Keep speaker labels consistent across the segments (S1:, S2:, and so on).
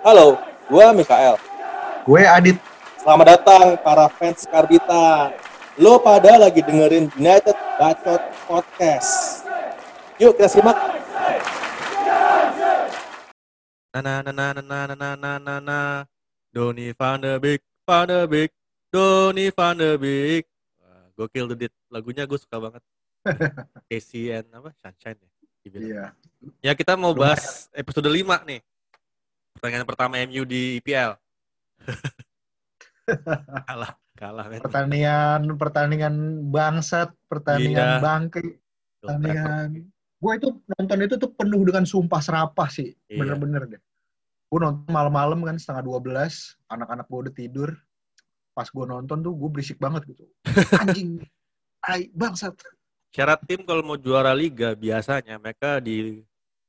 S1: Halo, gua Mikael.
S2: Gue Adit.
S1: Selamat datang para fans Karbita. Lo pada lagi dengerin United Bacot Podcast. Yuk kita simak.
S3: na na na na na na na na na na Donny van de Beek van de Beek Donny van de Beek Wah, gokil tuh dit lagunya gue suka banget Casey and apa Sunshine ya dibilang.
S2: Iya.
S3: ya kita mau bahas episode 5 nih pertandingan pertama MU di IPL kalah kalah men
S2: Pertandingan pertandingan bangsat,
S3: Iya.
S2: pertandingan bangke,
S3: Gol Trevor.
S2: pertandingan. Gue itu nonton itu tuh penuh dengan sumpah serapah sih,
S3: Iya.
S2: bener-bener deh. Gue nonton malam-malam kan setengah 12, anak-anak gue udah tidur. Pas gue nonton tuh gue berisik banget gitu. Anjing, tai bangsat.
S3: syarat tim kalau mau juara liga biasanya mereka di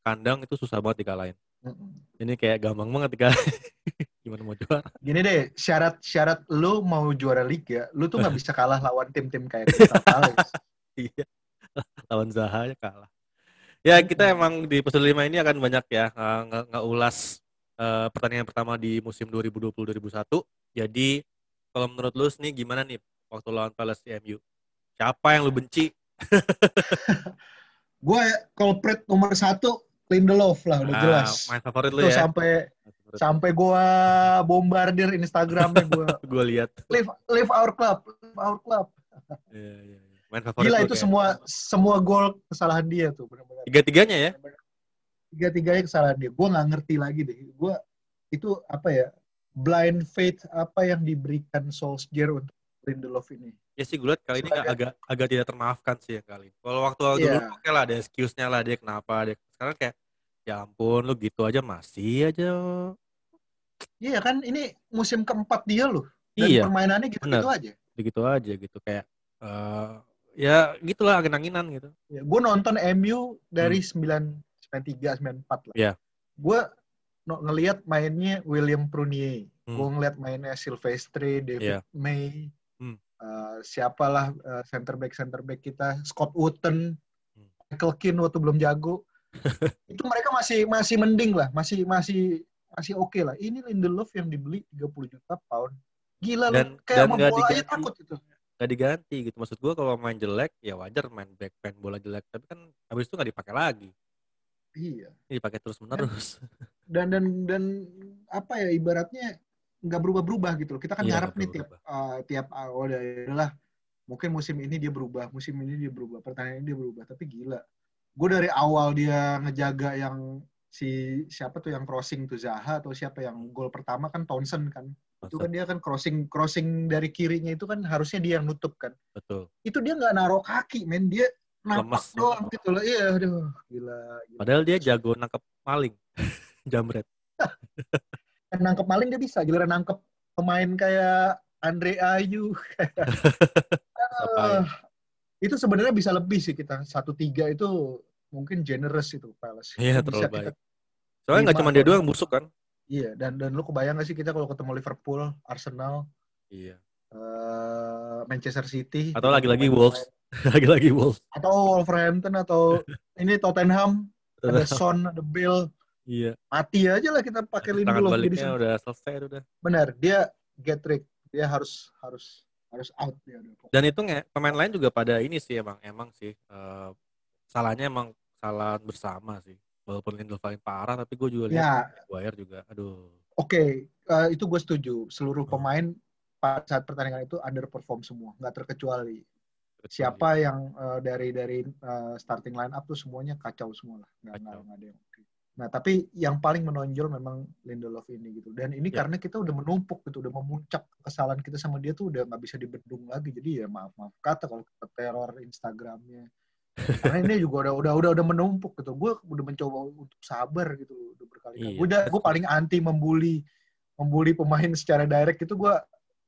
S3: kandang itu susah banget dikalahin
S2: Mm-mm.
S3: ini kayak gampang banget dikalahin gimana mau juara
S2: Gini deh, syarat-syarat lu mau juara liga, lu tuh nggak bisa kalah lawan tim-tim kayak Crystal Palace.
S3: Iya. Lawan Zaha aja kalah. Ya,
S2: Hmm.
S3: kita emang di episode 5 ini akan banyak ya eh, nge- ngeulas eh, pertandingan pertama di musim 2020-2021. Jadi, kalau menurut lu nih gimana nih waktu lawan Palace di MU? Siapa yang lu benci?
S2: Gue culprit nomor satu, Lindelof lah udah
S3: Ah,
S2: jelas.
S3: main favorit lu
S2: Tuh
S3: ya.
S2: sampai sampai gua bombardir Instagramnya gua
S3: Gue lihat.
S2: live live our club live our club
S3: Iya, iya, iya. Main favorit
S2: gila
S3: lu
S2: itu
S3: kayak. gitu.
S2: semua semua gol kesalahan dia tuh benar-benar
S3: Tiga-tiganya ya?
S2: tiga tiganya kesalahan dia gua nggak ngerti lagi deh gua itu apa ya blind faith apa yang diberikan Solskjaer untuk Lindelof ini
S3: Ya sih gue liat kali ini nggak- agak agak tidak termaafkan sih ya kali. Kalau waktu dulu
S2: Iya.
S3: oke lah ada excuse-nya lah dia kenapa dia sekarang kayak ya ampun lu gitu aja masih aja.
S2: iya kan ini musim keempat dia loh dan
S3: Iya,
S2: permainannya gitu gitu aja
S3: gitu aja gitu kayak eh ya gitulah angin-anginan gitu.
S2: Ya, gue nonton
S3: Hmm.
S2: MU dari 993 94 lah.
S3: Iya.
S2: Gue no, ngelihat mainnya William Prunier.
S3: Hmm. Ya.
S2: Gue ngelihat mainnya Silvestre, David May.
S3: Hmm.
S2: eh, siapalah eh, center back center back kita Scott Wooten,
S3: Hmm.
S2: Michael Keane waktu belum jago. itu mereka masih masih mending lah, masih masih masih oke lah. Ini Lindelof yang dibeli 30 juta pound. Gila
S3: Dan-
S2: lu, kayak
S3: dan
S2: sama
S3: nggak
S2: bola aja
S3: diganti.
S2: takut gitu. itu.
S3: Gak diganti gitu. Maksud gua kalau main jelek ya wajar main back main bola jelek tapi kan habis itu nggak dipakai lagi.
S2: Iya.
S3: Ini dipakai terus-menerus.
S2: dan dan dan apa ya ibaratnya nggak berubah-berubah gitu loh. Kita kan
S3: Iya,
S2: ngarep
S3: nggak
S2: nih tiap eh, tiap awal dari- adalah mungkin musim ini dia berubah, musim ini dia berubah, pertandingan ini dia berubah. Tapi gila, gue dari awal dia ngejaga yang si siapa tuh yang crossing tuh Zaha atau siapa yang gol pertama kan Townsend kan. Itu kan dia kan crossing crossing dari kirinya itu kan harusnya dia yang nutup kan.
S3: Betul.
S2: Itu dia nggak naruh kaki, men dia
S3: Lemes.
S2: napak doang gitu loh. Iya, aduh, gila. gila.
S3: Padahal dia jago nangkep maling. Jamret.
S2: nangkep maling dia bisa giliran nangkep pemain kayak Andre Ayu Ah,
S3: Siapa ya?
S2: itu sebenarnya bisa lebih sih kita satu tiga itu mungkin generous itu Palace
S3: Iya,
S2: Itu
S3: terlalu
S2: bisa
S3: baik.
S2: kita-
S3: Soalnya nggak
S2: lima
S3: cuma dia
S2: atau
S3: doang
S2: enam.
S3: busuk kan?
S2: iya dan dan lu kebayang gak sih kita kalau ketemu Liverpool Arsenal
S3: Iya.
S2: eh, Manchester City
S3: Atau
S2: gitu,
S3: lagi-lagi
S2: pemain-
S3: Wolves. Lagi-lagi Wolves.
S2: atau Wolverhampton atau ini Tottenham ada Son ada Bale
S3: Iya.
S2: mati aja lah kita pakai
S3: Tangan
S2: Lindelof jadi
S3: baliknya udah selesai udah.
S2: benar dia get trick dia harus harus harus out dia
S3: dan itu nge- pemain lain juga pada ini sih emang emang sih eh, salahnya emang kesalahan bersama sih walaupun Lindelof paling parah tapi gue juga lihat
S2: ya
S3: Maguire juga aduh
S2: Oke, eh, itu gue setuju. Seluruh
S3: Hmm.
S2: pemain pada saat pertandingan itu underperform semua, nggak terkecuali. Siapa
S3: iya.
S2: yang eh, dari dari eh, starting line up tuh semuanya kacau semua lah, nggak nggak
S3: Kacau.
S2: nggak ada yang oke. Nah, tapi yang paling menonjol memang Lindelof ini gitu. Dan ini
S3: Ya.
S2: karena kita udah menumpuk gitu, udah memuncak kesalahan kita sama dia tuh udah nggak bisa dibendung lagi. Jadi ya maaf maaf kata kalau kita teror Instagramnya. Karena ini ya juga udah udah udah udah menumpuk gitu. Gue udah mencoba untuk sabar gitu, udah berkali-kali.
S3: Iya.
S2: Gue udah gue paling anti membuli membuli pemain secara direct itu gue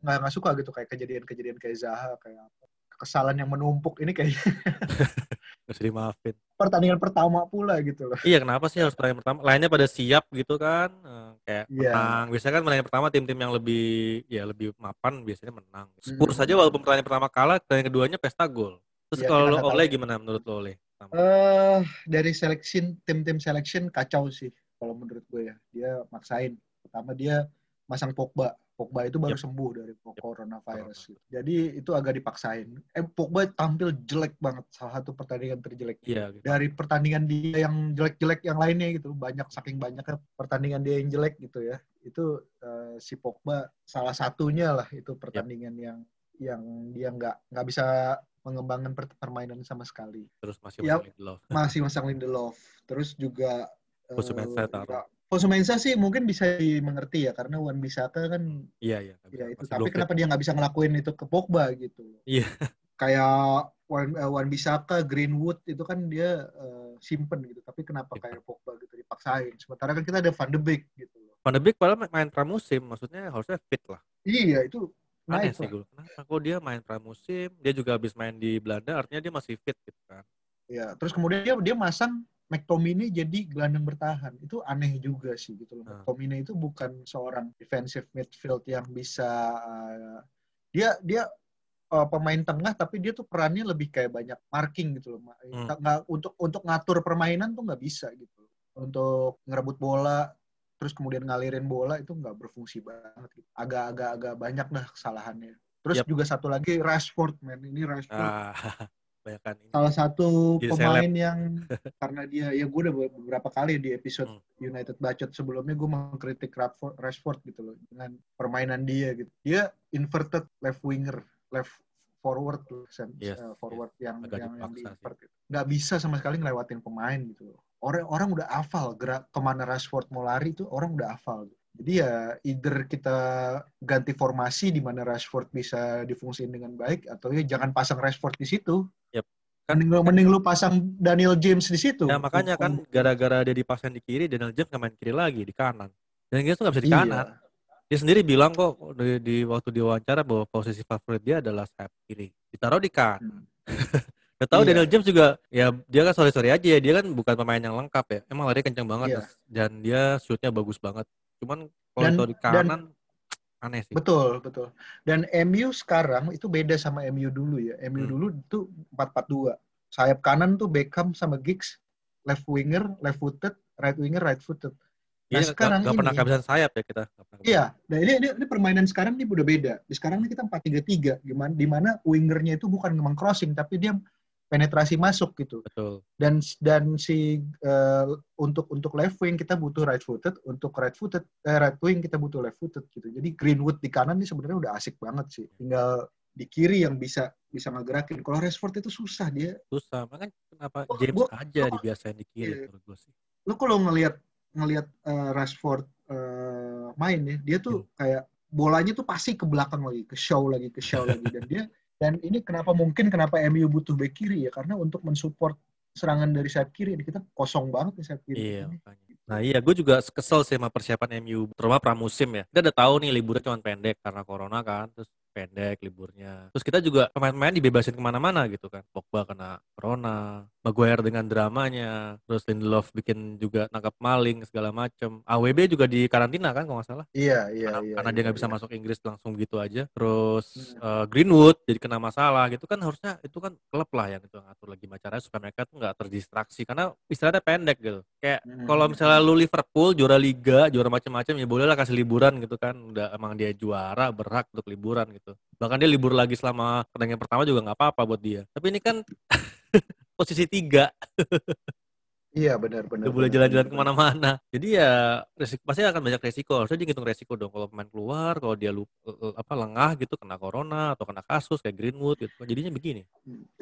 S2: nggak nggak suka gitu kayak kejadian-kejadian kayak Zaha kayak apa. kesalahan yang menumpuk ini kayak
S3: harus dimaafin
S2: pertandingan pertama pula gitu loh.
S3: iya kenapa sih harus pertandingan pertama lainnya pada siap gitu kan Eh, kayak
S2: Iya.
S3: menang biasanya kan pertandingan pertama tim-tim yang lebih ya lebih mapan biasanya menang Spurs
S2: Hmm.
S3: aja walaupun pertandingan pertama kalah pertandingan keduanya pesta gol terus
S2: Iya,
S3: kalau
S2: kita
S3: lo
S2: nggak tahu.
S3: oleh gimana menurut lo oleh
S2: Eh dari selection tim-tim selection kacau sih kalau menurut gue ya. Dia maksain. Pertama dia masang Pogba. Pogba itu baru
S3: Yep.
S2: sembuh dari coronavirus. gitu. Jadi itu agak dipaksain. Eh Pogba tampil jelek banget salah satu pertandingan terjelek.
S3: Iya, gitu.
S2: Dari pertandingan dia yang jelek-jelek yang lainnya gitu, banyak saking banyaknya pertandingan dia yang jelek gitu ya. Itu eh, si Pogba salah satunya lah itu pertandingan yang yang dia nggak nggak bisa mengembangkan per- permainan sama sekali
S3: terus masih
S2: Yap.
S3: masih love.
S2: masih masang Lindelof. Terus juga eh,
S3: Fosumensa taruh.
S2: juga- Fosumensa sih mungkin bisa dimengerti ya karena Wan Bisaka kan
S3: Iya, iya. nggak bisa.
S2: ya itu
S3: Masih
S2: tapi
S3: belum
S2: kenapa dia nggak bisa ngelakuin itu ke Pogba gitu.
S3: Iya.
S2: Kayak Wan, eh, Wan Bisaka, Greenwood itu kan dia eh, simpen gitu. Tapi kenapa
S3: Simpen.
S2: kayak Pogba gitu dipaksain? Sementara kan kita ada Van de Beek gitu. loh.
S3: Van de Beek padahal ma- main pramusim, maksudnya harusnya fit lah.
S2: Iya, itu
S3: Aneh
S2: naik
S3: sih
S2: lah.
S3: gue. Kenapa kok dia main pramusim? Dia juga habis main di Belanda, artinya dia masih fit gitu kan.
S2: Ya, terus kemudian dia, dia masang McTominay jadi gelandang bertahan. Itu aneh juga sih gitu loh.
S3: Hmm.
S2: McTominay itu bukan seorang defensive midfield yang bisa uh, dia dia uh, pemain tengah tapi dia tuh perannya lebih kayak banyak marking gitu loh. Ma-
S3: Hmm.
S2: nggak- nggak- untuk untuk ngatur permainan tuh nggak bisa gitu. Untuk ngerebut bola terus kemudian ngalirin bola itu nggak berfungsi banget. gitu. Agak-agak agak banyak dah kesalahannya. Terus
S3: Yap.
S2: juga satu lagi Rashford man ini Rashford
S3: Ah, banyak kan ini.
S2: salah satu
S3: Jadi
S2: pemain yang karena dia ya gue udah beberapa kali di episode
S3: Hmm.
S2: United bacot sebelumnya gue mengkritik Rashford, Rashford gitu loh dengan permainan dia gitu dia inverted left winger left forward tuh sen-
S3: Yes,
S2: eh, forward yang
S3: Iya, Agak
S2: yang, yang
S3: dipaksa
S2: di
S3: sih.
S2: invert gitu. nggak bisa sama sekali ngelewatin pemain gitu loh orang orang udah hafal gerak kemana Rashford mau lari itu orang udah hafal gitu. jadi ya either kita ganti formasi di mana Rashford bisa difungsiin dengan baik atau ya jangan pasang Rashford di situ
S3: Kan-
S2: mending, lu- mending lu pasang Daniel James di situ.
S3: Ya makanya kan gara-gara dia dipasang di kiri, Daniel James nggak main kiri lagi di kanan. Dan James tuh nggak bisa di
S2: Iya.
S3: kanan. Dia sendiri bilang kok di, di waktu diwawancara bahwa posisi favorit dia adalah sayap kiri. Ditaruh di kanan.
S2: Hmm.
S3: Gak tahu
S2: Iya.
S3: Daniel James juga ya dia kan sorry sorry aja ya dia kan bukan pemain yang lengkap ya. Emang lari kencang banget
S2: Iya.
S3: terus- dan dia shootnya bagus banget. Cuman kalau
S2: Dan-
S3: itu di kanan aneh sih.
S2: Betul, betul. Dan MU sekarang itu beda sama MU dulu ya. MU
S3: Hmm.
S2: dulu itu 4-4-2. Sayap kanan tuh Beckham sama Giggs, left winger, left footed, right winger, right footed.
S3: Iya,
S2: Nah, sekarang
S3: gak, pernah
S2: ini-
S3: kehabisan sayap ya kita. Nggak pernah kehabisan.
S2: Iya, nah ini, ini, ini permainan sekarang ini udah beda. Di sekarang ini kita 4-3-3, gimana di mana wingernya itu bukan memang crossing tapi dia penetrasi masuk gitu.
S3: Betul.
S2: dan dan si eh, untuk untuk left wing kita butuh right footed untuk right footed eh, right wing kita butuh left footed gitu jadi Greenwood di kanan ini sebenarnya udah asik banget sih tinggal di kiri yang bisa bisa ngegerakin kalau Rashford itu susah dia
S3: Susah. Makanya kenapa
S2: Gua-
S3: James
S2: gua-
S3: aja
S2: gua-
S3: dibiasain di kiri
S2: Iya.
S3: menurut gue sih.
S2: lu kalau ngelihat ngelihat eh, Rashford eh, main ya dia tuh kayak bolanya tuh pasti ke belakang lagi ke show lagi ke show lagi dan dia dan ini kenapa mungkin kenapa MU butuh back kiri ya karena untuk mensupport serangan dari sayap kiri ini kita kosong banget nih sayap kiri
S3: Iya,
S2: Ini
S3: makanya. Nah iya, gue juga kesel sih sama persiapan MU, terutama pramusim ya. Kita udah tahu nih liburnya cuma pendek karena corona kan, terus pendek liburnya. Terus kita juga pemain-pemain dibebasin kemana-mana gitu kan. Pogba kena corona, Maguire dengan dramanya, terus Lindelof bikin juga nangkap maling segala macem. AWB juga di karantina kan kalau nggak salah.
S2: Iya, iya,
S3: karena,
S2: iya.
S3: karena
S2: iya,
S3: dia nggak bisa
S2: iya.
S3: masuk Inggris langsung gitu aja. Terus
S2: Hmm.
S3: eh, Greenwood jadi kena masalah gitu kan harusnya itu kan klub lah yang itu yang ngatur lagi acaranya supaya mereka tuh nggak terdistraksi karena istirahatnya pendek gitu. Kayak
S2: Hmm.
S3: kalau misalnya lu Liverpool juara liga, juara macam-macam ya boleh lah kasih liburan gitu kan. Udah emang dia juara berhak untuk liburan gitu. Bahkan dia libur lagi selama pertandingan pertama juga nggak apa-apa buat dia. Tapi ini kan posisi tiga
S2: Iya, benar, benar.
S3: Udah boleh
S2: benar,
S3: jalan-jalan
S2: benar, benar.
S3: kemana-mana. Jadi ya resiko, pasti akan banyak resiko. Harusnya dia ngitung resiko dong. Kalau pemain keluar, kalau dia lu, eh, eh, apa lengah gitu, kena corona atau kena kasus kayak Greenwood gitu. Jadinya begini.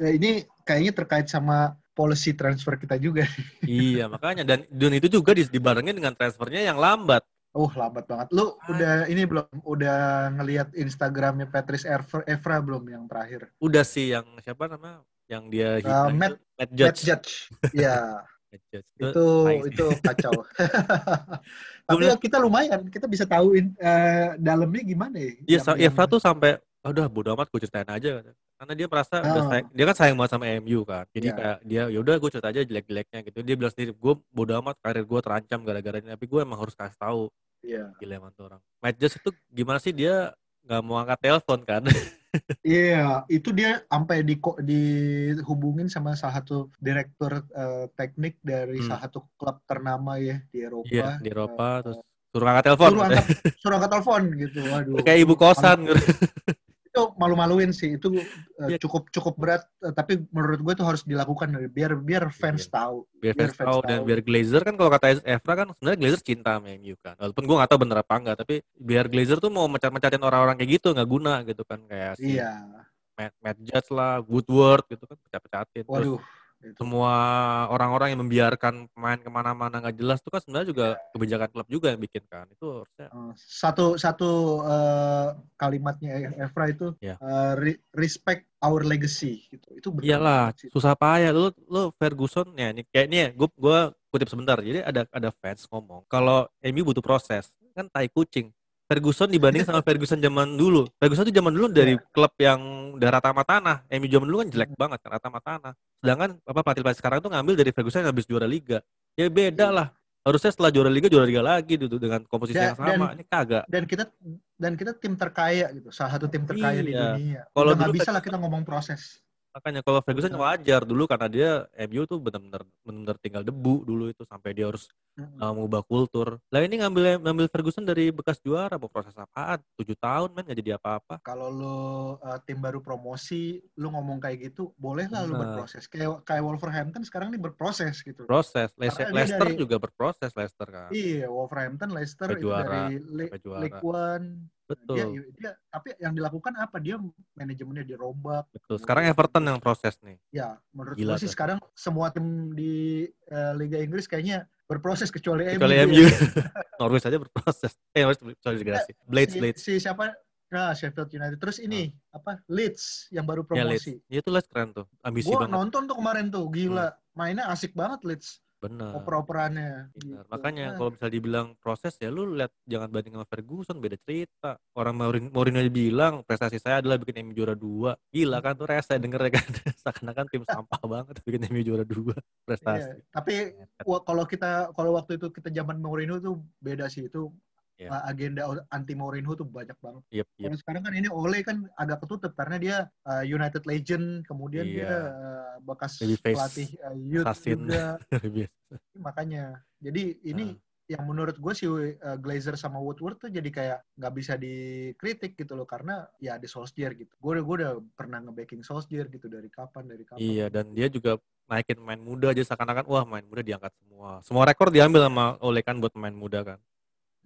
S2: Ya, ini kayaknya terkait sama policy transfer kita juga.
S3: iya makanya. Dan, dan itu juga di- dibarengin dengan transfernya yang lambat.
S2: Oh, lambat banget. Lu
S3: Ah.
S2: udah ini belum udah ngelihat Instagramnya Patrice Evra, Evra belum yang terakhir?
S3: Udah sih yang siapa namanya? Yang dia
S2: Eh,
S3: itu,
S2: Matt-
S3: Matt
S2: Matt
S3: Judge.
S2: Judge. Iya,
S3: Matt Judge. Itu,
S2: itu
S3: nice.
S2: itu kacau. Tapi
S3: bilang-
S2: ya kita lumayan, kita bisa tahuin eh, dalamnya gimana ya.
S3: Iya,
S2: Yang-
S3: sa-
S2: yang-
S3: Evra tuh sampai udah bodo amat gue ceritain aja karena dia merasa udah
S2: Ah.
S3: sayang- dia kan sayang banget sama MU kan jadi
S2: Iya.
S3: kayak dia ya udah gue cerita aja jelek-jeleknya gitu dia bilang sendiri gue bodo amat karir gue terancam gara-gara ini tapi gue emang harus kasih tahu
S2: Iya.
S3: gila emang tuh orang Matt Jones itu gimana sih dia nggak mau angkat telepon kan
S2: Iya, itu dia sampai di dihubungin sama salah satu direktur eh, teknik dari
S3: Hmm.
S2: salah satu klub ternama ya di Eropa.
S3: iya di Eropa
S2: Eh,
S3: terus Suruh angkat telepon.
S2: suruh angkat suruh angkat telepon gitu waduh
S3: Kayak ibu kosan gitu.
S2: itu malu-maluin sih itu uh,
S3: Iya.
S2: cukup cukup berat eh, tapi menurut gue itu harus dilakukan dari- biar biar
S3: Iya.
S2: fans tahu
S3: biar
S2: Biar
S3: fans
S2: fans
S3: tahu
S2: tahu.
S3: dan biar Glazer kan kalau kata Evra kan sebenarnya Glazer cinta sama MU kan walaupun gue gak tahu bener apa enggak tapi biar Glazer tuh mau mencat-mencatin orang-orang kayak gitu nggak guna gitu kan kayak si
S2: iya
S3: Matt, Matt Judge lah Woodward gitu kan pecat-pecatin terus
S2: waduh itu
S3: semua orang-orang yang membiarkan pemain kemana-mana nggak jelas tuh kan sebenarnya juga
S2: Iya.
S3: kebijakan klub juga yang bikin kan itu harusnya
S2: Uh, satu satu eh, kalimatnya Evra itu
S3: Iya.
S2: eh, re- respect our legacy gitu itu benar
S3: iyalah
S2: banget sih.
S3: Iya susah payah lu lu Ferguson ya ini kayak ini ya gue kutip sebentar jadi ada ada fans ngomong kalau MU butuh proses kan tai kucing Ferguson dibanding sama Ferguson zaman dulu Ferguson tuh zaman dulu dari klub yang udah rata sama tanah MU zaman dulu kan jelek banget kan rata sama tanah sedangkan apa pelatih pelatih sekarang tuh ngambil dari Ferguson yang habis juara liga ya beda lah harusnya setelah juara liga juara liga lagi gitu dengan komposisi
S2: Dan-
S3: yang sama ini kagak
S2: dan kita dan kita tim terkaya gitu salah satu tim terkaya di
S3: Iya.
S2: dunia
S3: Kalau
S2: kalau nggak
S3: dulu
S2: bisa
S3: kan-
S2: lah kita ngomong proses
S3: Makanya kalau Ferguson
S2: Benar.
S3: wajar dulu karena dia MU tuh benar-benar benar tinggal debu dulu itu sampai dia harus
S2: Mm-mm.
S3: uh, mengubah kultur. Lah ini ngambil ngambil Ferguson dari bekas juara mau proses apaan? 7 tahun men nggak jadi apa-apa.
S2: kalau lo uh, tim baru promosi lo ngomong kayak gitu boleh lah lo
S3: Benar.
S2: berproses kayak kayak Wolverhampton sekarang ini berproses gitu
S3: Proses. Leicester,
S2: Karena dia
S3: Leicester
S2: dari-
S3: juga berproses Leicester kan.
S2: iya Wolverhampton Leicester
S3: Sampai
S2: itu
S3: juara,
S2: dari Le-
S3: sampai juara.
S2: League One
S3: Betul.
S2: dia, iya. dia- tapi yang dilakukan apa dia manajemennya dirombak
S3: Betul. Sekarang Everton yang proses nih.
S2: ya menurut
S3: Gila
S2: gue sih
S3: tuh.
S2: sekarang semua tim di uh, Liga Inggris kayaknya berproses kecuali,
S3: Kecuali
S2: ya.
S3: MU. Norwich aja berproses. Eh Norwich sorry
S2: Iya,
S3: degradasi. Blades
S2: si,
S3: Blades.
S2: si siapa nah Sheffield United terus ini apa Leeds yang baru
S3: Ah. Ya Leeds.
S2: promosi
S3: Ya itu Leeds keren tuh. Ambisi
S2: gua
S3: banget.
S2: nonton tuh kemarin tuh gila mainnya asik banget Leeds
S3: Benar. Ah.
S2: oper-operannya
S3: Benar.
S2: gitu.
S3: Makanya
S2: Nah,
S3: kalau misalnya dibilang proses ya lu lihat jangan banding sama Ferguson beda cerita. Orang Mourin- Mourinho aja bilang prestasi saya adalah bikin MU juara dua. Gila kan tuh rese denger ya kan. Seakan-akan tim sampah banget bikin MU juara dua
S2: iya.
S3: prestasi.
S2: tapi wa- kalau kita kalau waktu itu kita zaman Mourinho tuh beda sih itu
S3: Iya.
S2: uh, agenda anti Mourinho tuh banyak banget.
S3: Yep, yep.
S2: Kalau sekarang kan ini Ole kan agak ketutup karena dia uh, United Legend, kemudian
S3: Iya.
S2: dia uh, bekas
S3: Babyface.
S2: pelatih uh, youth
S3: Assassin.
S2: juga. makanya jadi ini
S3: Ah.
S2: yang menurut gue si uh, Glazer sama Woodward tuh jadi kayak nggak bisa dikritik gitu loh karena ya ada Solskjaer gitu gue udah gue udah pernah nge-backing Solskjaer gitu dari kapan dari kapan
S3: iya dan dia juga naikin main muda aja seakan-akan wah main muda diangkat semua. Semua rekor diambil sama Ole kan buat main muda kan.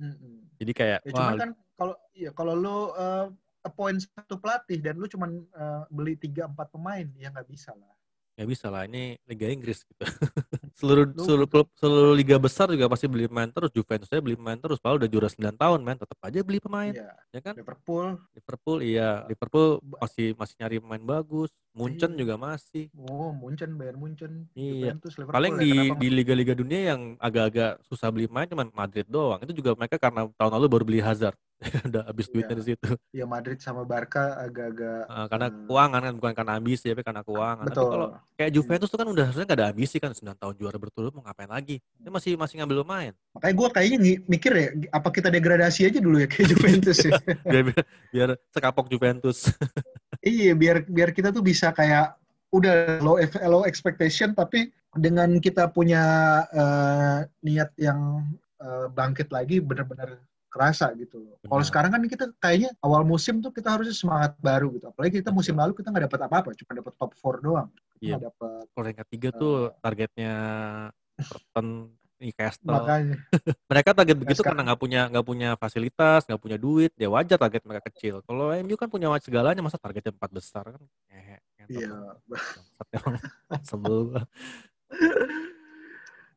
S2: Mm-mm.
S3: Jadi kayak
S2: ya
S3: wah
S2: cuman kan kalau ya kalau lu uh, appoint satu pelatih dan lu cuman uh, beli tiga empat pemain ya nggak bisa lah
S3: nggak bisa lah ini Liga Inggris gitu. seluruh
S2: Lu-
S3: seluruh klub seluruh liga besar juga pasti beli pemain terus Juventus aja beli pemain terus padahal udah juara 9 tahun men tetap aja beli pemain
S2: Iya,
S3: ya kan
S2: Liverpool
S3: Liverpool iya Liverpool masih masih nyari pemain bagus Munchen
S2: Iya.
S3: juga masih
S2: oh Munchen Bayern Munchen
S3: Iya.
S2: Juventus Liverpool
S3: paling
S2: ya,
S3: di
S2: kenapa
S3: di liga-liga dunia yang agak-agak susah beli pemain cuman Madrid doang itu juga mereka karena tahun lalu baru beli Hazard udah habis duitnya
S2: Iya.
S3: di situ
S2: ya Madrid sama Barca agak-agak
S3: Nah, karena
S2: Hmm.
S3: keuangan kan bukan karena ambisi tapi karena keuangan tapi
S2: betul
S3: kalau kayak Juventus tuh kan udah harusnya nggak ada ambisi kan 9 tahun juara berturut mau ngapain lagi dia masih masih ngambil pemain
S2: Makanya gue kayaknya ngi- mikir ya, apa kita degradasi aja dulu ya ke Juventus ya.
S3: biar biar, biar sekapok Juventus
S2: iya, biar biar kita tuh bisa kayak udah low ex- low expectation tapi dengan kita punya eh, niat yang eh, bangkit lagi benar-benar kerasa gitu loh. Kalau
S3: Benar.
S2: sekarang kan kita kayaknya awal musim tuh kita harusnya semangat baru gitu. Apalagi kita musim lalu kita nggak dapat apa-apa, cuma dapat top 4 doang.
S3: Iya.
S2: Nggak dapat
S3: kalau yang ketiga tuh
S2: Eh.
S3: targetnya Everton, Newcastle.
S2: makanya.
S3: Mereka target begitu
S2: sekarang-
S3: karena nggak punya nggak punya fasilitas, nggak punya duit, ya wajar target mereka kecil. Kalau MU kan punya segalanya, masa targetnya empat besar kan? Ngehe, ngentot.
S2: Iya.
S3: Bangsat emang. Sebel gua.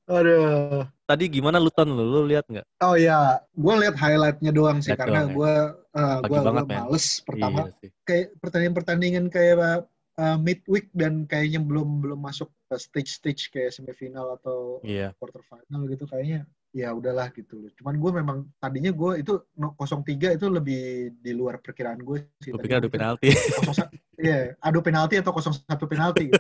S2: Aduh.
S3: Tadi gimana lu ton lu, lu lihat nggak?
S2: Oh ya, gue lihat highlightnya doang sih
S3: Lihat
S2: karena
S3: doang ya.
S2: gue
S3: Pagi
S2: gue
S3: banget, men.
S2: males pertama
S3: Iya sih.
S2: kayak pertandingan pertandingan kayak uh, midweek dan kayaknya belum belum masuk ke stage-stage kayak semifinal atau
S3: Iya.
S2: quarter final gitu kayaknya ya udahlah gitu loh. Cuman gue memang tadinya gue itu no- 03 itu lebih di luar perkiraan gue sih.
S3: Gue
S2: Tadi
S3: pikir
S2: gua
S3: adu penalti.
S2: 01 Iya, adu penalti atau 01 penalti. gitu.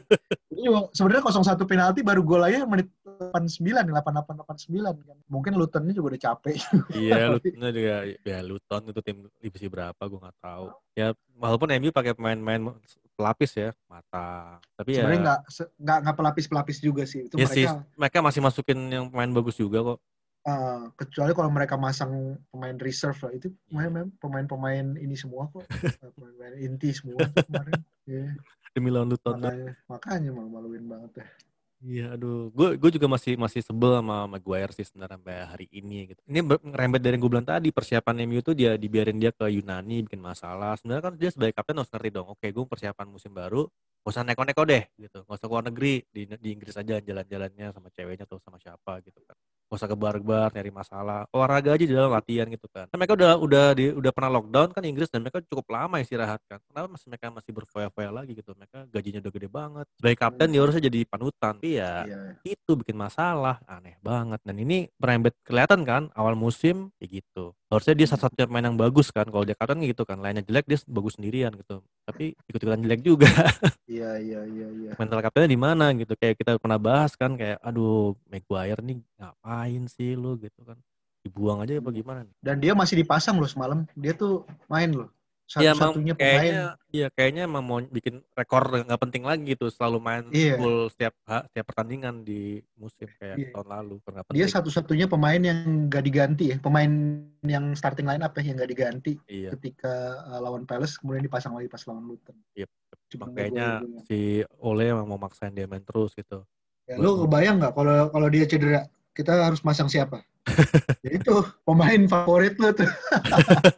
S2: Ini juga- sebenarnya 01 penalti baru gol aja menit 89, 88 89 kan. Mungkin Luton ini juga udah capek.
S3: iya, Lutonnya juga ya Luton itu tim divisi berapa gue nggak tahu. Ya walaupun MU pakai pemain-pemain pelapis ya, mata. Tapi ya
S2: Sebenarnya nggak se- nggak nggak pelapis pelapis juga sih. Itu
S3: ya
S2: mereka
S3: sih, mereka masih masukin yang pemain bagus juga kok.
S2: eh Eh, kecuali kalau mereka masang pemain reserve lah itu
S3: Iya.
S2: pemain pemain pemain ini semua kok Eh, pemain-pemain inti semua tuh kemarin Iya,
S3: demi lawan Luton.
S2: makanya makanya malu-maluin banget ya
S3: Iya, aduh, gue gue juga masih masih sebel sama Maguire sih sebenarnya sampai hari ini gitu. Ini ber- ngerembet dari yang gue bilang tadi persiapan MU tuh dia dibiarin dia ke Yunani bikin masalah. Sebenarnya kan dia sebagai kapten harus ngerti dong. Oke, gue persiapan musim baru, gak usah neko-neko deh gitu. Gak usah keluar negeri di, di Inggris aja jalan-jalannya sama ceweknya atau sama siapa gitu kan. Gak usah ke bar-bar nyari masalah. Olahraga aja di dalam latihan gitu kan. Kan mereka udah udah di, udah pernah lockdown kan Inggris dan mereka cukup lama istirahat kan. Kenapa masih mereka masih berfoya-foya lagi gitu? Mereka gajinya udah gede banget. Sebagai kapten dia harusnya jadi panutan. Tapi ya
S2: iya
S3: itu bikin masalah aneh banget dan ini merembet kelihatan kan awal musim ya gitu harusnya dia satu-satunya pemain yang bagus kan kalau Jakarta kan gitu kan lainnya jelek dia bagus sendirian gitu tapi ikut-ikutan jelek juga
S2: iya iya iya iya
S3: mental kaptennya di mana gitu kayak kita pernah bahas kan kayak aduh Maguire nih ngapain sih lu gitu kan dibuang aja apa gimana nih
S2: dan dia masih dipasang loh semalam dia tuh main loh
S3: Iya, emang
S2: satu-satunya pemain
S3: kayaknya iya kayaknya emang mau bikin rekor nggak penting lagi gitu selalu main
S2: Iya.
S3: full setiap ha- setiap pertandingan di musim kayak
S2: Iya.
S3: tahun lalu nggak
S2: dia
S3: penting.
S2: satu-satunya pemain yang gak diganti ya pemain yang starting line up ya yang gak diganti
S3: iya
S2: ketika uh, lawan Palace kemudian dipasang lagi pas lawan Luton
S3: Yep.
S2: Cuma
S3: makanya
S2: gol-golnya.
S3: si Ole emang mau maksain dia main terus gitu
S2: ya, lu kebayang nggak kalau kalau dia cedera kita harus masang siapa ya itu pemain favorit lu tuh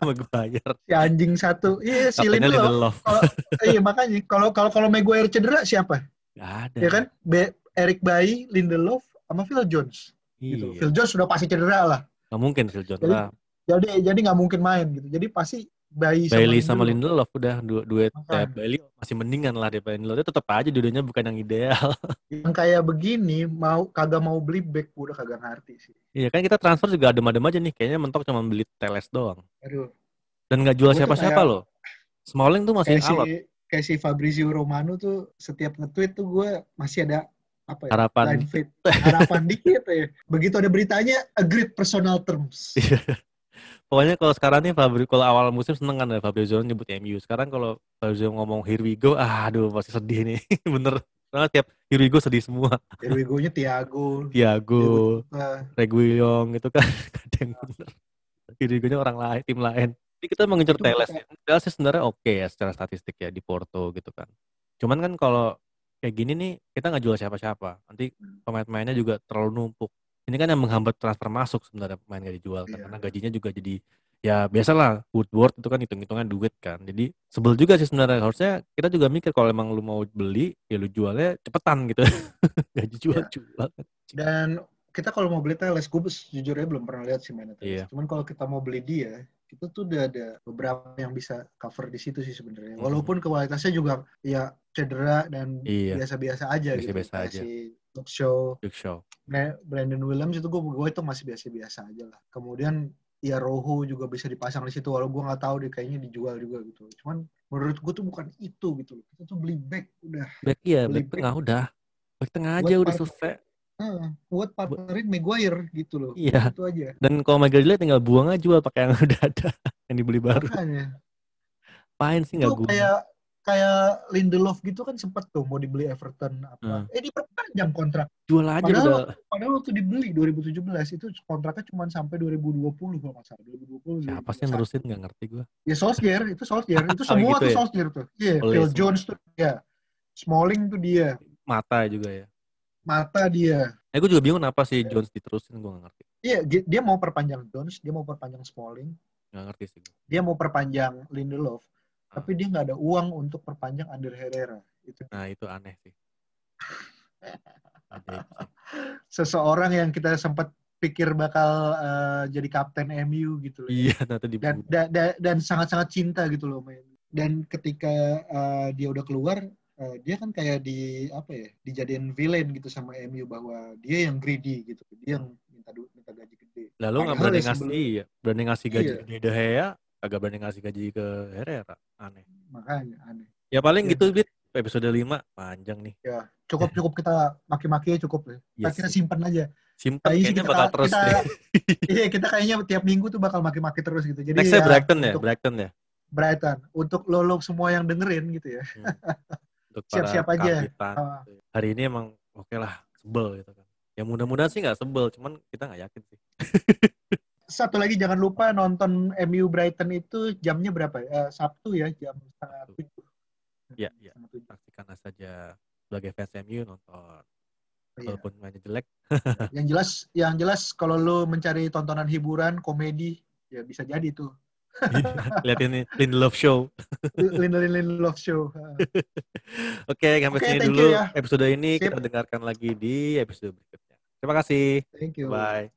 S3: Maguire
S2: si anjing satu iya si
S3: kaptennya
S2: Lindelof
S3: Lindelof
S2: iya makanya kalau kalau kalau Maguire cedera siapa
S3: gak ada
S2: ya kan Be- Eric Bailly Lindelof sama Phil Jones gitu
S3: iya.
S2: Phil Jones sudah pasti cedera lah
S3: gak mungkin Phil Jones
S2: Jadi-
S3: lah
S2: jadi jadi nggak mungkin main gitu jadi pasti Bailly sama
S3: Bailey sama
S2: Lindelof.
S3: Lindelof udah du- duet ya,
S2: Makanya.
S3: Bailey masih mendingan lah daripada Lindelof tetap aja dudanya bukan yang ideal
S2: yang kayak begini mau kagak mau beli back gua udah kagak ngerti sih
S3: iya kan kita transfer juga adem-adem aja nih kayaknya mentok cuma beli Teles doang
S2: aduh
S3: dan nggak jual
S2: Gua tuh
S3: siapa-siapa
S2: kayak-
S3: loh Smalling tuh masih
S2: kayak si
S3: alot
S2: kayak si Fabrizio Romano tuh setiap nge-tweet tuh gue masih ada apa ya
S3: harapan
S2: line fit harapan dikit ya begitu ada beritanya agreed personal terms
S3: Iya. Pokoknya kalau sekarang nih Fabri kalau awal musim seneng kan ya Fabrizio nyebut MU. Sekarang kalau Fabrizio ngomong here we go, ah, aduh pasti sedih nih. Bener. Karena tiap here we go sedih semua.
S2: dari nya Tiago
S3: Iya. Thiago,
S2: eh,
S3: Reguilon gitu kan kadang bener. Here we go-nya orang lain, tim lain. Jadi kita mengincar
S2: Itu
S3: Teles.
S2: kayak-
S3: ya. Teles sih sebenarnya oke ya secara statistik ya di Porto gitu kan. Cuman kan kalau kayak gini nih kita nggak jual siapa-siapa. Nanti
S2: Hmm.
S3: pemain-pemainnya juga terlalu numpuk. Ini kan yang menghambat transfer masuk sebenarnya pemain gak dijual kan.
S2: Iya.
S3: Karena gajinya juga jadi ya biasalah Woodward itu kan hitung-hitungan duit kan. Jadi sebel juga sih sebenarnya harusnya kita juga mikir kalau emang lu mau beli ya lu jualnya cepetan gitu. Gaji
S2: Iya.
S3: jual-jual.
S2: dan kita kalau mau beli Teles gue sejujurnya belum pernah lihat sih mainnya Teles
S3: Iya.
S2: cuman kalau kita mau beli dia itu tuh udah ada beberapa yang bisa cover di situ sih sebenarnya
S3: Mhm.
S2: walaupun kualitasnya juga ya cedera dan
S3: Iya.
S2: biasa-biasa aja gitu
S3: Biasa-biasa
S2: Kayak
S3: aja.
S2: si Luke Shaw
S3: Big Show.
S2: Bra- Brandon Williams itu gue gue itu masih biasa-biasa aja lah. Kemudian ya Rohu juga bisa dipasang di situ walau gue nggak tahu deh kayaknya dijual juga gitu. Cuman menurut gue tuh bukan itu gitu loh. Kita tuh beli back udah.
S3: Back iya,
S2: Beli
S3: back
S2: back.
S3: tengah udah. Back tengah
S2: Buat
S3: aja udah
S2: part-
S3: selesai.
S2: Nah, buat partnerin Maguire gitu loh.
S3: Iya.
S2: Itu aja.
S3: Dan kalau Michael jelek tinggal buang aja jual pakai yang udah ada. Yang dibeli baru.
S2: Makanya.
S3: Pain sih nggak
S2: Itu
S3: guna.
S2: kayak kayak Lindelof gitu kan sempet tuh mau dibeli Everton apa. Eh diperpanjang kontrak.
S3: Jual aja
S2: Padahal-
S3: udah.
S2: Padahal waktu dibeli 2017 itu kontraknya cuma sampai 2020 kalau nggak salah. 2020.
S3: Siapa sih yang
S2: 2021.
S3: nerusin nggak ngerti gue.
S2: Ya Solskjaer, itu Solskjaer. Itu
S3: Oh, gitu
S2: semua tuh
S3: ya?
S2: Solskjaer tuh. Iya,
S3: Oleh
S2: Phil
S3: semua.
S2: Jones tuh dia. Smalling tuh dia.
S3: Mata juga ya.
S2: Mata dia.
S3: Eh gue juga bingung kenapa sih Jones diterusin gue nggak ngerti.
S2: Iya, dia dia mau perpanjang Jones, dia mau perpanjang Smalling,
S3: Nggak ngerti sih. gua.
S2: dia mau perpanjang Lindelof. Tapi dia nggak ada uang untuk perpanjang Ander Herrera. Itu
S3: Nah itu aneh sih. Ajaib sih.
S2: seseorang yang kita sempat pikir bakal eh, jadi kapten MU gitu loh.
S3: Iya ternyata di
S2: Dan da- da- dan sangat-sangat cinta gitu loh main. Dan ketika eh, dia udah keluar eh, dia kan kayak di apa ya dijadiin villain gitu sama MU bahwa dia yang greedy gitu dia yang minta duit minta gaji gede
S3: Lalu nggak
S2: Padahal
S3: berani
S2: ya sebelum-
S3: ngasih, iya. berani ngasih gaji
S2: Iya.
S3: ke De Gea, kagak berani ngasih gaji ke Herrera. Aneh.
S2: makanya aneh
S3: Ya paling
S2: Iya.
S3: gitu, Bit. Episode 5 panjang nih. Ya.
S2: cukup cukup kita maki-maki cukup lah
S3: Iya
S2: kita
S3: sih.
S2: simpan aja
S3: Simpen
S2: kayaknya
S3: kayaknya
S2: kita
S3: bakal terus
S2: kita,
S3: deh.
S2: iya kita kayaknya tiap minggu tuh bakal maki-maki terus gitu jadi
S3: Nextnya
S2: ya,
S3: Brighton ya,
S2: untuk
S3: Brighton ya.
S2: Brighton untuk lo lo semua yang dengerin gitu ya
S3: Untuk
S2: Siap-siap
S3: para
S2: aja.
S3: karbitan.
S2: Ah.
S3: Hari ini emang oke lah, sebel gitu kan. Ya mudah-mudahan sih nggak sebel, cuman kita nggak yakin sih.
S2: Satu lagi jangan lupa nonton MU Brighton itu jamnya berapa? ya? Eh, Sabtu ya jam setengah
S3: Sabtu.
S2: tujuh.
S3: Iya,
S2: Jam
S3: iya.
S2: setengah tujuh.
S3: Saksikan saja sebagai fans MU nonton.
S2: Iya.
S3: Walaupun mainnya jelek,
S2: Yang jelas, yang jelas kalau lu mencari tontonan hiburan, komedi, ya bisa jadi tuh.
S3: liatin Lindelof Show.
S2: Lindelin Love Show. Ha.
S3: Oke, sampai
S2: Oke,
S3: sini
S2: thank
S3: dulu
S2: you ya.
S3: episode ini.
S2: Sip.
S3: Kita dengarkan lagi di episode berikutnya. Terima kasih.
S2: Thank you.
S3: Bye.